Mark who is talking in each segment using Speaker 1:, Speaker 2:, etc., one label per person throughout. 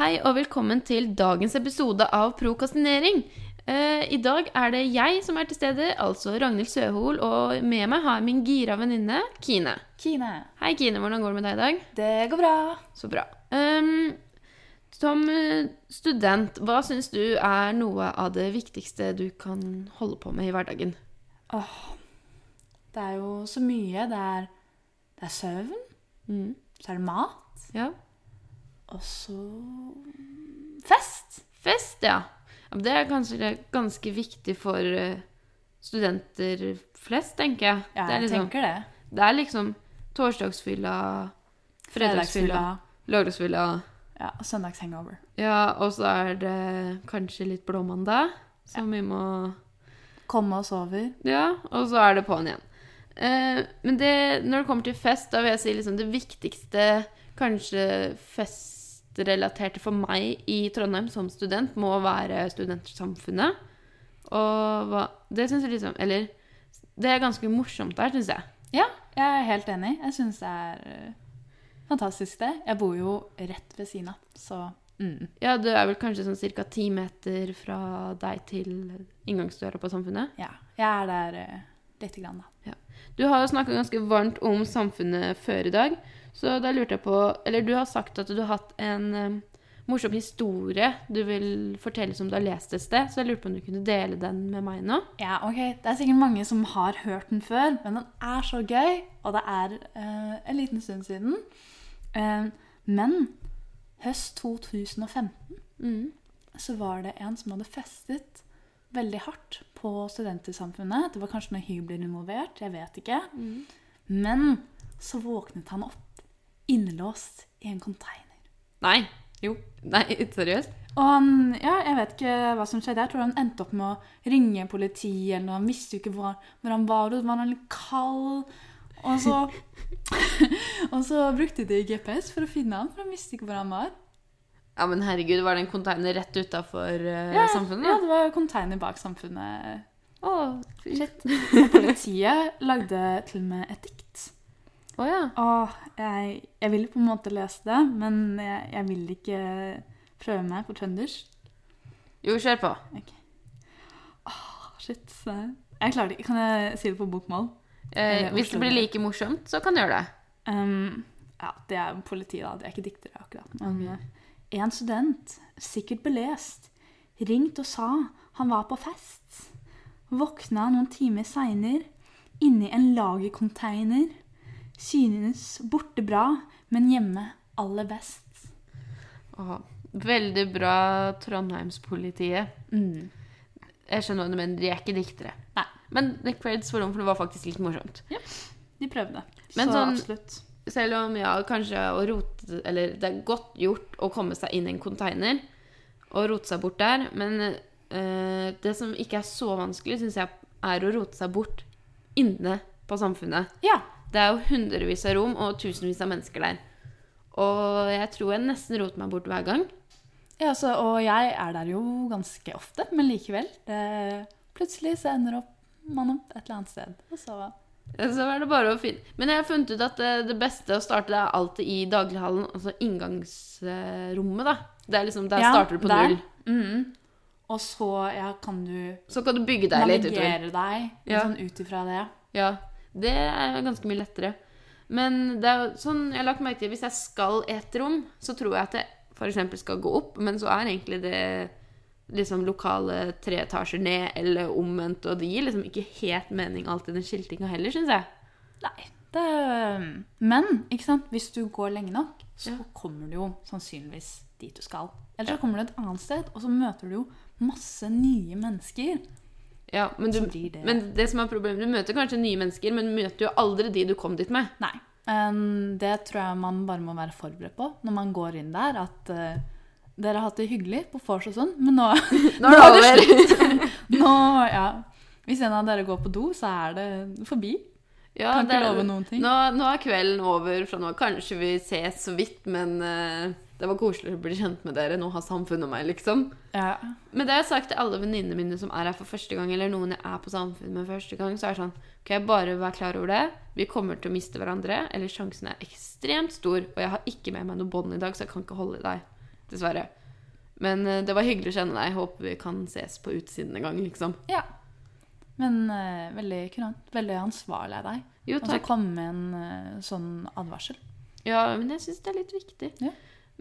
Speaker 1: Hei og velkommen til dagens episode av Prokastinering. Eh, I dag er det jeg som er til stede, altså Ragnhild Søhol, og med meg har jeg min gira venninne Kine.
Speaker 2: Kine,
Speaker 1: Hei, Kine, hvordan går det med deg i dag?
Speaker 2: det går bra.
Speaker 1: Så bra. Ehm, som eh, student, hva syns du er noe av det viktigste du kan holde på med i hverdagen?
Speaker 2: Åh, det er jo så mye. Det er, det er søvn,
Speaker 1: Mm.
Speaker 2: så er det mat,
Speaker 1: Ja.
Speaker 2: og så fest.
Speaker 1: Fest, ja. Ja, men Det er kanskje ganske viktig for eh, studenter flest, tenker jeg.
Speaker 2: Ja,
Speaker 1: det, er
Speaker 2: jeg
Speaker 1: liksom,
Speaker 2: tenker det.
Speaker 1: det er liksom torsdagsfylla, fredagsfylla, lørdagsfylla
Speaker 2: Ja, og søndagshangover.
Speaker 1: Ja, og så er det kanskje litt blåmandag, som vi må
Speaker 2: Komme oss over.
Speaker 1: Ja, og så er det på'n igjen. Eh, men det, når det kommer til fest, da vil jeg si liksom det viktigste kanskje festrelaterte for meg i Trondheim som student, må være studentsamfunnet. Og hva Det syns jeg liksom Eller det er ganske morsomt der, syns jeg.
Speaker 2: Ja, jeg er helt enig. Jeg syns det er eh, fantastisk det. Jeg bor jo rett ved siden av, så mm.
Speaker 1: Ja, du er vel kanskje sånn ca. ti meter fra deg til inngangsdøra på Samfunnet.
Speaker 2: ja. Jeg er der eh, lite grann, da.
Speaker 1: Du har jo snakka ganske varmt om samfunnet før i dag, så da lurte jeg på Eller du har sagt at du har hatt en eh, morsom historie du vil fortelle som du har lest et sted, så jeg lurte på om du kunne dele den med meg nå?
Speaker 2: Ja, ok. Det er sikkert mange som har hørt den før, men den er så gøy, og det er eh, en liten stund siden. Eh, men høst 2015
Speaker 1: Mm,
Speaker 2: så var det en som hadde festet veldig hardt på studentersamfunnet. Det var kanskje noen hybler involvert, jeg vet ikke.
Speaker 1: mm.
Speaker 2: Men så våknet han opp innelåst i en container.
Speaker 1: Nei. Jo. Nei, seriøst?
Speaker 2: Og han, ja, jeg vet ikke hva som skjedde. Jeg tror han endte opp med å ringe politiet. eller noe. Han visste jo ikke hvor, hvor han var, og så var han litt kald. Og så, og så brukte de GPS for å finne han, for han visste ikke hvor han var.
Speaker 1: Ja, men herregud, var det en container rett utafor eh,
Speaker 2: Ja,
Speaker 1: samfunnet?
Speaker 2: det var container bak samfunnet.
Speaker 1: Å shit.
Speaker 2: Og politiet lagde til og med et dikt.
Speaker 1: Å ja.
Speaker 2: Åh, jeg, jeg ville på en måte lese det, men jeg, jeg vil ikke prøve meg på trøndersk.
Speaker 1: Jo, kjør på.
Speaker 2: Ok. Åh, shit. Jeg klarer det ikke. Kan jeg si det på bokmål?
Speaker 1: Eh,
Speaker 2: Eller
Speaker 1: hvis det
Speaker 2: Oslo.
Speaker 1: blir like morsomt, så kan du gjøre det.
Speaker 2: Ehm, ja, det er jo politi, da. De er ikke diktere, akkurat. Men eh, en student, sikkert belest, ringte og sa han var på fest. Våkna noen timer seinere, inni en lagercontainer. Synes borte bra, men hjemme aller best.
Speaker 1: Å, Veldig bra Trondheimspolitiet.
Speaker 2: Mm.
Speaker 1: Jeg skjønner hva du mener, de er ikke diktere.
Speaker 2: Nei.
Speaker 1: Men det er creds for dem, for det var faktisk litt morsomt.
Speaker 2: De prøvde.
Speaker 1: Men
Speaker 2: Så
Speaker 1: sånn-
Speaker 2: absolutt.
Speaker 1: Selv om ja, kanskje å rote Eller det er godt gjort å komme seg inn i en container og rote seg bort der, men eh, det som ikke er så vanskelig, syns jeg, er å rote seg bort inne på samfunnet.
Speaker 2: Ja.
Speaker 1: Det er jo hundrevis av rom og tusenvis av mennesker der. Og jeg tror jeg nesten roter meg bort hver gang.
Speaker 2: Ja, så, og jeg er der jo ganske ofte, men likevel. Det, plutselig så ender opp man opp et eller annet sted. Og så,
Speaker 1: Så er det bare å finne Men jeg har funnet ut at eh, det beste å starte det er alltid i daglighallen, altså inngangsrommet, da. Det er liksom, Der
Speaker 2: Ja,
Speaker 1: starter du på
Speaker 2: der.
Speaker 1: null.
Speaker 2: Mhm. og så ja, kan du
Speaker 1: Så kan du bygge deg litt utover.
Speaker 2: navigere deg
Speaker 1: Ja.
Speaker 2: sånn ut ifra det.
Speaker 1: Ja, det er ganske mye lettere. Men det er jo sånn, jeg har lagt merke til hvis jeg skal et rom, så tror jeg at jeg f.eks. skal gå opp, men så er egentlig det liksom lokale tre etasjer ned, eller omvendt, og det gir liksom ikke helt mening alltid den skiltinga heller, syns jeg.
Speaker 2: Nei. Det, mm. men ikke sant? hvis du går lenge nok, så
Speaker 1: Ja.
Speaker 2: kommer du jo sannsynligvis dit du skal. Eller så kommer du et annet sted, og så møter du jo masse nye mennesker.
Speaker 1: Ja, men,
Speaker 2: Så
Speaker 1: du,
Speaker 2: blir det-
Speaker 1: men det som er problemet, du møter kanskje nye mennesker, men du møter jo aldri de du kom dit med.
Speaker 2: Nei. em, det tror jeg man bare må være forberedt på når man går inn der. At eh, dere har hatt det hyggelig på vors og sånn, men nå,
Speaker 1: Nå er det over!
Speaker 2: nå ja. Hvis en av dere går på do, så er det forbi.
Speaker 1: Ja,
Speaker 2: Kan ikke
Speaker 1: det er-
Speaker 2: love noen ting.
Speaker 1: Nå, nå er kvelden over fra nå. Kanskje vi ses så vidt, men eh, det var koselig å bli kjent med dere. Nå har samfunnet meg, liksom.
Speaker 2: Ja.
Speaker 1: Men det har jeg sagt til alle venninnene mine som er her for første gang, eller noen jeg er på samfunnet med første gang, så er det sånn Kan jeg bare være klar over det? Vi kommer til å miste hverandre, eller sjansen er ekstremt stor, og jeg har ikke med meg noe bånd i dag, så jeg kan ikke holde i deg. dessverre. Men eh, det var hyggelig å kjenne deg. Håper vi kan ses på utsiden en gang, liksom.
Speaker 2: Ja. Men eh, veldig kurant. Veldig ansvarlig av deg.
Speaker 1: Jo,
Speaker 2: Og så
Speaker 1: takk.
Speaker 2: komme med en eh, sånn advarsel.
Speaker 1: Ja, men jeg syns det er litt viktig.
Speaker 2: Ja.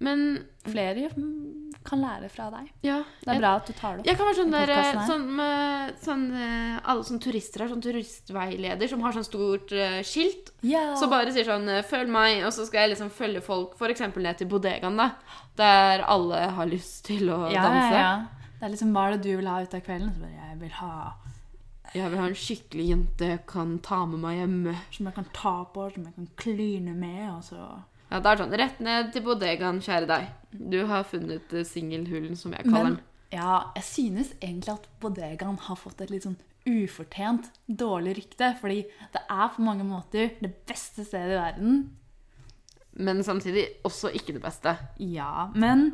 Speaker 1: Men
Speaker 2: Flere mm, kan lære fra deg.
Speaker 1: ja
Speaker 2: Det er bra at du tar det opp.
Speaker 1: Jeg kan være sånn
Speaker 2: I
Speaker 1: der,
Speaker 2: podcasten her.
Speaker 1: sånn, med, sånn eh, Alle sånne turister har sånn turistveileder som har sånn stort eh, skilt.
Speaker 2: Ja.
Speaker 1: Så bare sier sånn eh, 'følg meg', og så skal jeg liksom følge folk f.eks. ned til bodegaen, da. Der alle har lyst til å
Speaker 2: ja,
Speaker 1: danse.
Speaker 2: ja, ja. Det er liksom hva er det du vil ha ut av kvelden? Så bare, jeg vil ha
Speaker 1: Jeg vil ha en skikkelig jente, kan ta med meg hjemme.
Speaker 2: Som jeg kan ta på, som jeg kan kline med, og så
Speaker 1: Ja, det er sånn, Rett ned til bodegaen, kjære deg. Du har funnet eh, singelhulen, som jeg kaller
Speaker 2: Men
Speaker 1: den.
Speaker 2: ja, jeg synes egentlig at bodegaen har fått et litt sånn ufortjent dårlig rykte. Fordi det er på mange måter det beste stedet i verden.
Speaker 1: Men samtidig også ikke det beste.
Speaker 2: Ja, men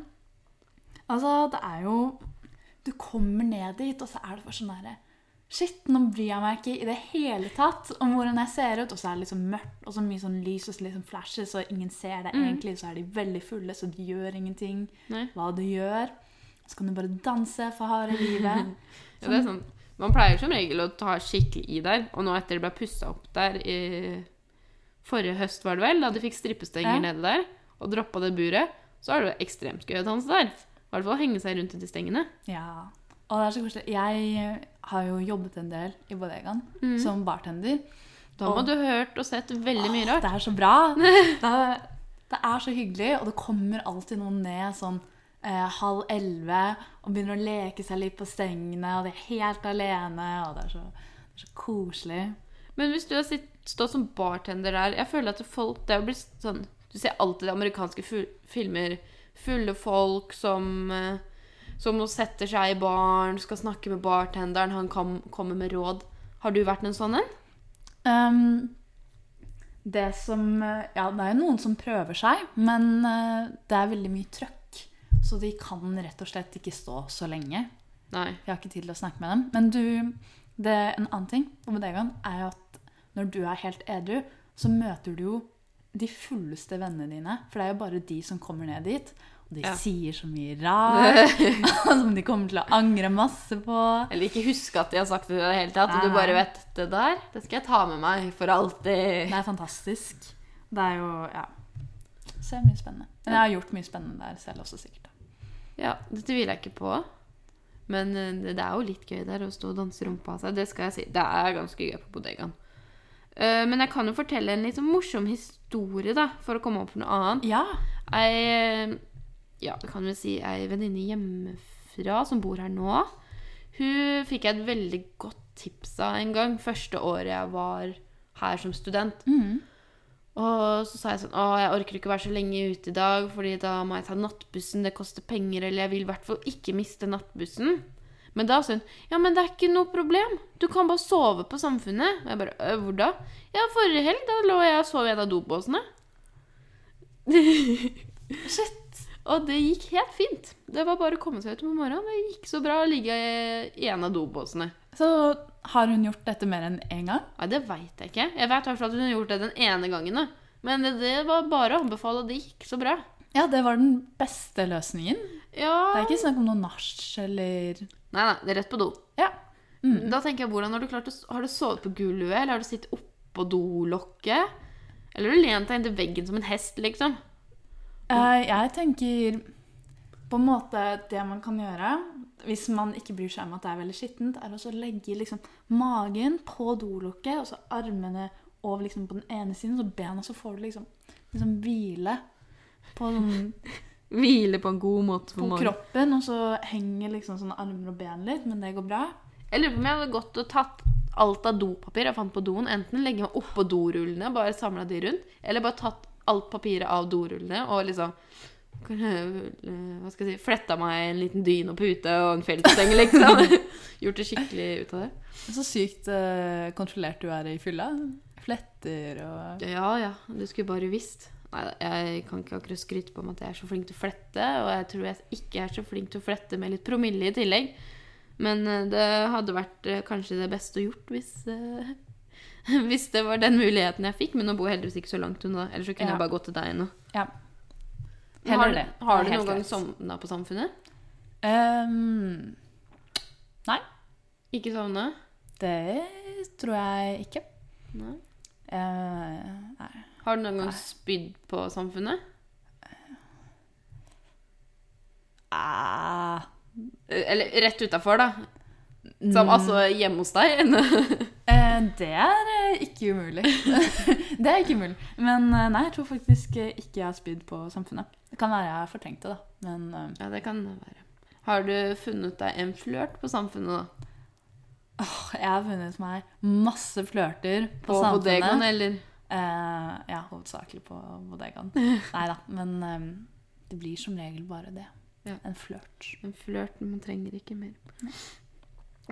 Speaker 2: Altså, det er jo Du kommer ned dit, og så er det bare sånn derre Shit, nå bryr jeg meg ikke i det hele tatt om hvordan jeg ser ut. Og så er det liksom mørkt, og så mye sånn lys og så liksom flashes, og ingen ser deg egentlig. Så er de veldig fulle, så de gjør ingenting.
Speaker 1: Nei.
Speaker 2: Hva du gjør. Så kan du bare danse for harde livet.
Speaker 1: Ja, det er sånn. Man pleier som regel å ta skikkelig i der, og nå etter det ble pussa opp der i forrige høst, var det vel, da de fikk strippestenger
Speaker 2: Ja.
Speaker 1: nede der, og droppa det buret, så er det jo ekstremt gøy å danse der. I hvert fall henge seg rundt i de stengene.
Speaker 2: Ja. Og det er så koselig. Jeg har jo jobbet en del i bodegaen som bartender.
Speaker 1: Da må
Speaker 2: Og-
Speaker 1: du ha hørt og sett veldig mye
Speaker 2: Åh,
Speaker 1: rart.
Speaker 2: Det er så bra. Det er, det er så hyggelig, og det kommer alltid noen ned sånn eh, halv elleve og begynner å leke seg litt på stengene, og de er helt alene, og det er så, det er så koselig.
Speaker 1: Men hvis du har sitt, stått som bartender der Jeg føler at folk Det er jo blitt sånn Du ser alltid i amerikanske fu- filmer fulle folk som eh, som nå setter seg i baren, skal snakke med bartenderen, han kan komme med råd. Har du vært en sånn en?
Speaker 2: Ehm, det som eh, Ja, det er jo noen som prøver seg, men eh, det er veldig mye trøkk. Så de kan rett og slett ikke stå så lenge.
Speaker 1: Nei.
Speaker 2: Jeg har ikke tid til å snakke med dem. Men du, det, en annen ting på bodegaen er jo at når du er helt edru, så møter du jo de fulleste vennene dine. For det er jo bare de som kommer ned dit. Og de
Speaker 1: Ja.
Speaker 2: sier så mye rart som de kommer til å angre masse på.
Speaker 1: Eller ikke huske at de har sagt det i det hele tatt.
Speaker 2: Nei,
Speaker 1: og Du bare
Speaker 2: nei.
Speaker 1: vet Det der det skal jeg ta med meg for alltid.
Speaker 2: Det er fantastisk. Det er jo Ja. Så det er mye spennende. Men jeg har gjort mye spennende der selv også, sikkert.
Speaker 1: Ja, det tviler jeg ikke på. Men eh, det, det er jo litt gøy der å stå og danse rumpa av seg. Det skal jeg si. Det er ganske gøy på bodegaen. Eh, men jeg kan jo fortelle en litt sånn morsom historie, da, for å komme opp på noe annet.
Speaker 2: Ja.
Speaker 1: Ei eh, Ja, det kan vi si ei venninne hjemmefra som bor her nå. Hun fikk jeg et veldig godt tips av en gang første året jeg var her som student.
Speaker 2: Mm.
Speaker 1: Og så sa jeg sånn Å, jeg orker ikke være så lenge ute i dag, fordi da må jeg ta nattbussen, det koster penger, eller jeg vil i hvert fall ikke miste nattbussen. Men da sa hun Ja, men det er ikke noe problem. Du kan bare sove på Samfunnet. Og jeg bare «Øh, Hvor da? Ja, forrige helg, da lå jeg og sov i en av dopåsene.
Speaker 2: Shit.
Speaker 1: Og det gikk helt fint. Det var bare å komme seg ut om morgenen. Det gikk så bra å ligge i en av dobåsene.
Speaker 2: Så har hun gjort dette mer enn én gang?
Speaker 1: Nei, det veit jeg ikke. Jeg vet i hvert fall at hun har gjort det den ene gangen. Da. Men det, det var bare å anbefale, og det gikk så bra.
Speaker 2: Ja, det var den beste løsningen. Det
Speaker 1: Ja
Speaker 2: er ikke snakk om noe nach eller
Speaker 1: Nei, nei, det er rett på do.
Speaker 2: Ja. Mm.
Speaker 1: Da tenker jeg, hvordan Har du klart å, s- har du sovet på gulvet, eller har du sittet oppå dolokket? Eller har du lent deg inntil veggen som en hest, liksom?
Speaker 2: Eh, Jeg tenker på en måte det man kan gjøre hvis man ikke bryr seg om at det er veldig skittent, er å så legge liksom magen på dolokket og så armene over liksom på den ene siden, så bena så får du liksom, liksom hvile på, sånn,
Speaker 1: Hvile på en god måte
Speaker 2: på kroppen, og så henger liksom sånn armer og ben litt, men det går bra.
Speaker 1: Jeg lurer på om jeg hadde gått og tatt alt av dopapir jeg fant på doen, enten legge meg oppå dorullene, bare samla de rundt, eller bare tatt alt papiret av dorullene og liksom øh, hva skal jeg si, fletta meg en liten dyne og pute og en feltsteng, liksom. Gjort det skikkelig ut av det.
Speaker 2: Så sykt eh, kontrollert du er i fylla. Fletter og
Speaker 1: Ja ja, du skulle bare visst. Nei, jeg kan ikke akkurat skryte på meg at jeg er så flink til å flette, og jeg tror jeg ikke er så flink til å flette med litt promille i tillegg. Men eh, det hadde vært eh, kanskje det beste å gjort hvis eh, Hvis det var den muligheten jeg fikk, men nå bor jeg heldigvis ikke så langt unna. Ellers så kunne
Speaker 2: Ja.
Speaker 1: jeg bare gått til deg nå.
Speaker 2: Ja.
Speaker 1: Men
Speaker 2: Heller
Speaker 1: har,
Speaker 2: det.
Speaker 1: Har
Speaker 2: Det
Speaker 1: du
Speaker 2: er helt
Speaker 1: noen gang
Speaker 2: greit.
Speaker 1: sovna på Samfunnet?
Speaker 2: Ehm,
Speaker 1: Ikke sovna?
Speaker 2: det tror jeg ikke.
Speaker 1: Nei.
Speaker 2: Eh, nei.
Speaker 1: Har du noen gang
Speaker 2: Nei.
Speaker 1: spydd på Samfunnet?
Speaker 2: Ah.
Speaker 1: Eh, Eller rett utafor, da. Som
Speaker 2: Mm.
Speaker 1: altså hjemme hos deg.
Speaker 2: Eh, det er eh, ikke umulig. det er ikke umulig. Men eh, nei, jeg tror faktisk eh, ikke jeg har spydd på samfunnet. Det kan være jeg fortrengte, da. Men eh,
Speaker 1: ja, det kan det være. Har du funnet deg en flørt på Samfunnet, da?
Speaker 2: åh, jeg har vunnet meg masse flørter på,
Speaker 1: På
Speaker 2: samfunnet.
Speaker 1: bodegaen, eller?
Speaker 2: Eh, ja, hovedsakelig på bodegaen. Nei da, men eh, det blir som regel bare det.
Speaker 1: Ja.
Speaker 2: En flørt.
Speaker 1: En flørt, men man trenger ikke mer.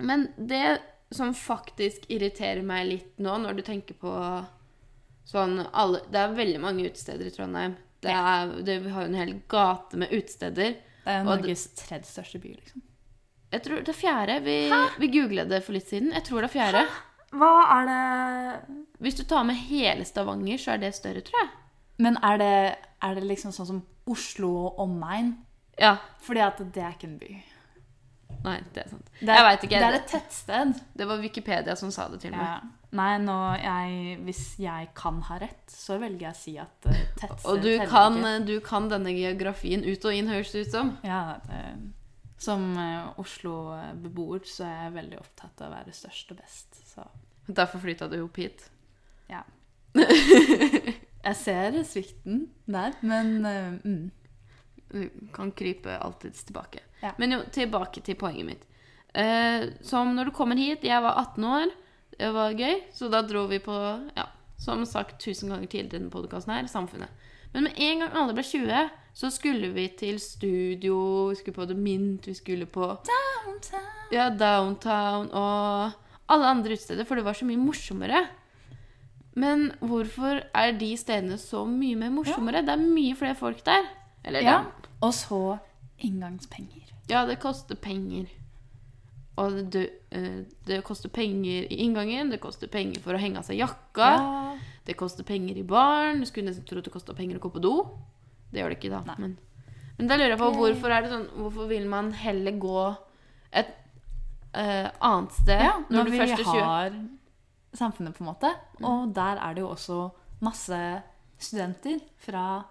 Speaker 1: Men det som faktisk irriterer meg litt nå, når du tenker på sånn alle, Det er veldig mange utesteder i Trondheim. Det er, det, vi har jo en hel gate med utesteder.
Speaker 2: Det er
Speaker 1: Og det-
Speaker 2: Norges tredje største by, liksom.
Speaker 1: Jeg tror det er fjerde. Vi, vi googla det for litt siden. Jeg tror det er fjerde.
Speaker 2: Hva er det
Speaker 1: Hvis du tar med hele Stavanger, så er det større, tror jeg.
Speaker 2: Men er det, er det liksom sånn som Oslo og omegn?
Speaker 1: Ja.
Speaker 2: Fordi at det er ikke en by.
Speaker 1: Nei, det er sant.
Speaker 2: Det er,
Speaker 1: Jeg vet ikke.
Speaker 2: Det er
Speaker 1: Det,
Speaker 2: et tettsted.
Speaker 1: det var Wikipedia som sa det til meg.
Speaker 2: Ja. Nei, nå, jeg, hvis jeg kan ha rett, så velger jeg å si at eh, tettsted
Speaker 1: Og du
Speaker 2: teller
Speaker 1: kan, eh,
Speaker 2: ikke.
Speaker 1: du kan denne geografien ut og inn, høres det ut som.
Speaker 2: Ja, det, som eh, Oslo-beboer så er jeg veldig opptatt av å være størst og best. Så
Speaker 1: Derfor flytta du opp hit.
Speaker 2: ja. jeg ser svikten der, men eh, mm.
Speaker 1: Du kan krype alltids tilbake.
Speaker 2: Ja.
Speaker 1: Men jo, tilbake til poenget mitt. Eh, som når du kommer hit Jeg var 18 år. Det var gøy. Så da dro vi på, ja, som sagt tusen ganger tidligere i denne podkasten her, Samfunnet. Men med en gang alle ble 20, så skulle vi til studio, vi skulle på The Mint, vi skulle på
Speaker 2: Downtown.
Speaker 1: ja, Downtown og alle andre utesteder, for det var så mye morsommere. Men hvorfor er de stedene så mye mer morsommere? Det er mye flere folk der. Eller
Speaker 2: Ja.
Speaker 1: det,
Speaker 2: Og så inngangspenger.
Speaker 1: ja, det koster penger. Og det, eh, det koster penger i inngangen, det koster penger for å henge av seg jakka,
Speaker 2: Ja.
Speaker 1: det koster penger i baren. Du skulle nesten tro at det kosta penger å gå på do. Det gjør det ikke, da.
Speaker 2: Nei.
Speaker 1: Men, men da lurer jeg på hvorfor er det sånn Hvorfor vil man heller gå et eh, annet sted
Speaker 2: Ja,
Speaker 1: når
Speaker 2: når
Speaker 1: du
Speaker 2: vi
Speaker 1: først er 20?
Speaker 2: har samfunnet, på en måte. Og der er det jo også masse studenter fra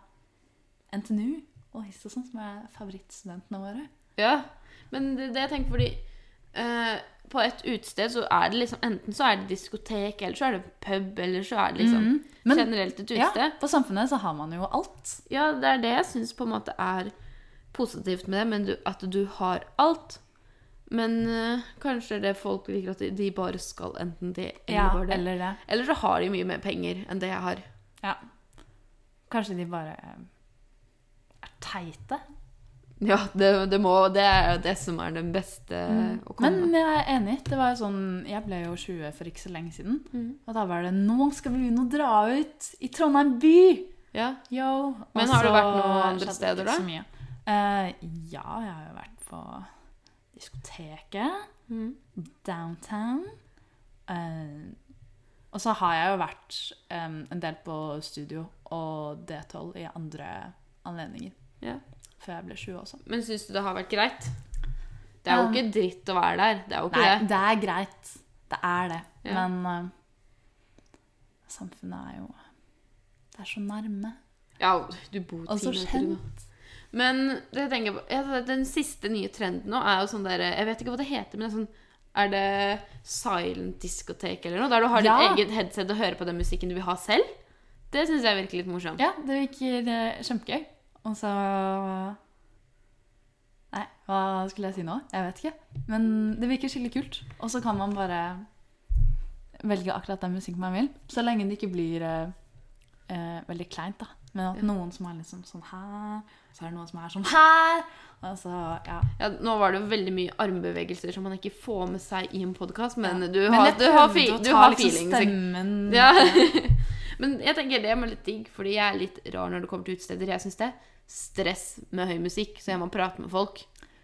Speaker 2: NTNU og Hist og sånn, som er favorittstudentene våre.
Speaker 1: Ja, men det, det jeg tenker fordi eh, På et utested så er det liksom Enten så er det diskotek, eller så er det pub, eller så er det liksom
Speaker 2: Mhm. Men-
Speaker 1: generelt et
Speaker 2: Ja,
Speaker 1: utested.
Speaker 2: på Samfunnet så har man jo alt.
Speaker 1: Ja. det er det jeg syns på en måte er positivt med det, men du, at du har alt. Men eh, kanskje det folk liker at de, de bare skal enten det eller
Speaker 2: Ja,
Speaker 1: bare det. Eller.
Speaker 2: eller det.
Speaker 1: så har de mye mer penger enn det jeg har.
Speaker 2: Ja. Kanskje de bare eh, er teite.
Speaker 1: Ja, det, det, må, det er jo det som er den beste å komme
Speaker 2: Mm. Men jeg er enig. Det var jo sånn, jeg ble jo 20 for ikke så lenge siden. Og da var det 'Nå skal vi begynne å dra ut i Trondheim by!'
Speaker 1: Ja.
Speaker 2: Yo,
Speaker 1: Men
Speaker 2: og
Speaker 1: har du
Speaker 2: så
Speaker 1: vært noe andre
Speaker 2: skjedde det
Speaker 1: steder,
Speaker 2: altså, ikke
Speaker 1: da?
Speaker 2: så mye. Eh, ja, jeg har jo vært på diskoteket,
Speaker 1: Mhm.
Speaker 2: downtown. eh, og så har jeg jo vært eh, en del på studio og D12 i andre anledninger.
Speaker 1: ja.
Speaker 2: Før jeg ble 20 også.
Speaker 1: Men syns du det har vært greit? Det er jo
Speaker 2: Ja.
Speaker 1: ikke dritt å være der. Det er jo ikke
Speaker 2: Nei,
Speaker 1: det.
Speaker 2: det er greit. Det er det.
Speaker 1: Ja.
Speaker 2: Men eh, samfunnet er jo Det er så nærme.
Speaker 1: Ja, du bor
Speaker 2: Og
Speaker 1: ti
Speaker 2: så
Speaker 1: meter unna.
Speaker 2: kjent.
Speaker 1: Men det jeg tenker på, ja, den siste nye trenden nå er jo sånn der Jeg vet ikke hva det heter, men det er sånn er det silent diskotek eller noe? Der du har
Speaker 2: Ja.
Speaker 1: ditt eget headset og hører på den musikken du vil ha selv? Det syns jeg virker litt morsomt.
Speaker 2: Ja, det virker eh, kjempegøy. Og så Nei, hva skulle jeg si nå? Jeg vet ikke. Men det virker skikkelig kult. Og så kan man bare velge akkurat den musikken man vil. Så lenge det ikke blir eh, eh, veldig kleint, da. Men at noen som er liksom sånn her, så er det noen som er sånn her. Og så, ja.
Speaker 1: Ja, nå var det jo veldig mye armbevegelser som man ikke får med seg i en podkast, men du
Speaker 2: Men
Speaker 1: har,
Speaker 2: jeg
Speaker 1: du har,
Speaker 2: prøvde
Speaker 1: fi,
Speaker 2: å
Speaker 1: du
Speaker 2: ta
Speaker 1: har
Speaker 2: liksom
Speaker 1: feeling. sikkert.
Speaker 2: Stemmen
Speaker 1: Ja. Men jeg tenker det må litt digg, fordi jeg er litt rar når det kommer til utesteder. Jeg syns det er stress med høy musikk, så jeg må prate med folk.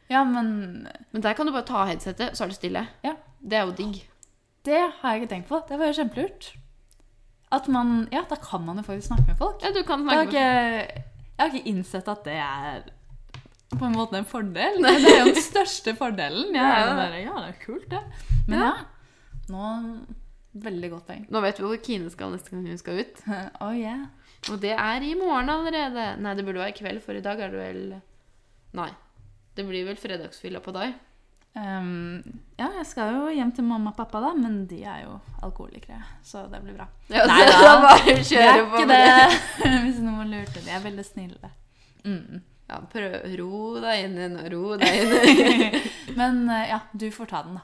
Speaker 2: ja, men
Speaker 1: Men der kan du bare ta av headsetet, så er det stille.
Speaker 2: Ja.
Speaker 1: Det er jo digg.
Speaker 2: det har jeg ikke tenkt på. Det var jo kjempelurt. At man Ja, da kan man jo faktisk snakke med folk.
Speaker 1: Ja, du kan
Speaker 2: Det
Speaker 1: snakke
Speaker 2: har ikke Jeg har ikke innsett at det er på en måte en fordel. Det er jo den største fordelen. Jeg er jo
Speaker 1: Ja.
Speaker 2: bare, ja, det er kult, det. Men ja.
Speaker 1: Ja.
Speaker 2: Nå Veldig godt poeng.
Speaker 1: Nå vet vi hvor Kine skal neste gang hun skal ut.
Speaker 2: Oh yeah.
Speaker 1: Og det er i morgen allerede. Nei, det burde være i kveld, for i dag er det vel Nei. Det blir vel fredagsfylla på deg.
Speaker 2: Ehm, ja, jeg skal jo hjem til mamma og pappa, da, men de er jo alkoholikere, så det blir bra.
Speaker 1: Ja,
Speaker 2: Nei
Speaker 1: så
Speaker 2: da.
Speaker 1: da bare
Speaker 2: Det er
Speaker 1: kjøre på
Speaker 2: ikke
Speaker 1: med det.
Speaker 2: det, hvis noen lurte. De er veldig snille. Mm.
Speaker 1: Ja, prøv, ro deg inn igjen, og ro deg inn.
Speaker 2: Men eh, ja, du får ta den, da.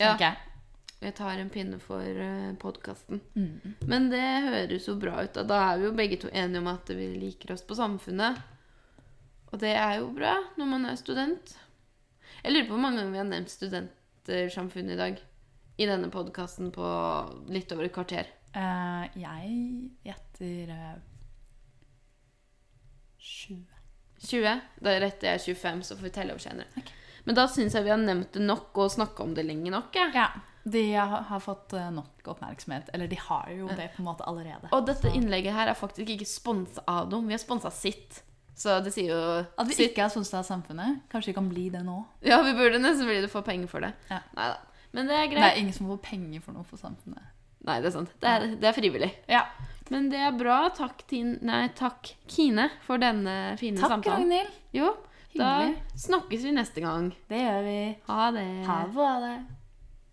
Speaker 1: Ja.
Speaker 2: tenker jeg.
Speaker 1: Jeg tar en pinne for eh, podkasten.
Speaker 2: Mm.
Speaker 1: Men det høres jo bra ut. Og da er vi jo begge to enige om at vi liker oss på samfunnet. Og det er jo bra når man er student. Jeg lurer på hvor mange ganger vi har nevnt studentersamfunnet i dag. I denne podkasten på litt over et kvarter.
Speaker 2: Eh, jeg gjetter eh, 20.
Speaker 1: 20. Da retter jeg 25, så får vi telle over senere. Men da syns jeg vi har nevnt det nok og snakka om det lenge nok. Jeg.
Speaker 2: Ja. De har har fått eh, nok oppmerksomhet. Eller de har jo det på en måte allerede.
Speaker 1: Og dette
Speaker 2: Så-
Speaker 1: innlegget her er faktisk ikke sponsa av dem. Vi har sponsa sitt. Så det sier jo
Speaker 2: At vi ikke er sponset av samfunnet. Kanskje vi kan bli det nå.
Speaker 1: Ja, vi burde nesten bli det for penger for det.
Speaker 2: Ja.
Speaker 1: Neida. Men det er
Speaker 2: Det
Speaker 1: greit.
Speaker 2: er ingen som får penger for noe for samfunnet.
Speaker 1: Nei, det er sant. Det er, det er frivillig.
Speaker 2: Ja.
Speaker 1: Men det er bra. Takk, Tin nei, takk Kine, for denne fine
Speaker 2: Takk,
Speaker 1: samtalen.
Speaker 2: Ragnhild.
Speaker 1: Jo, da
Speaker 2: Hyggelig.
Speaker 1: snakkes vi neste gang.
Speaker 2: Det gjør vi.
Speaker 1: Ha det.
Speaker 2: Ha det.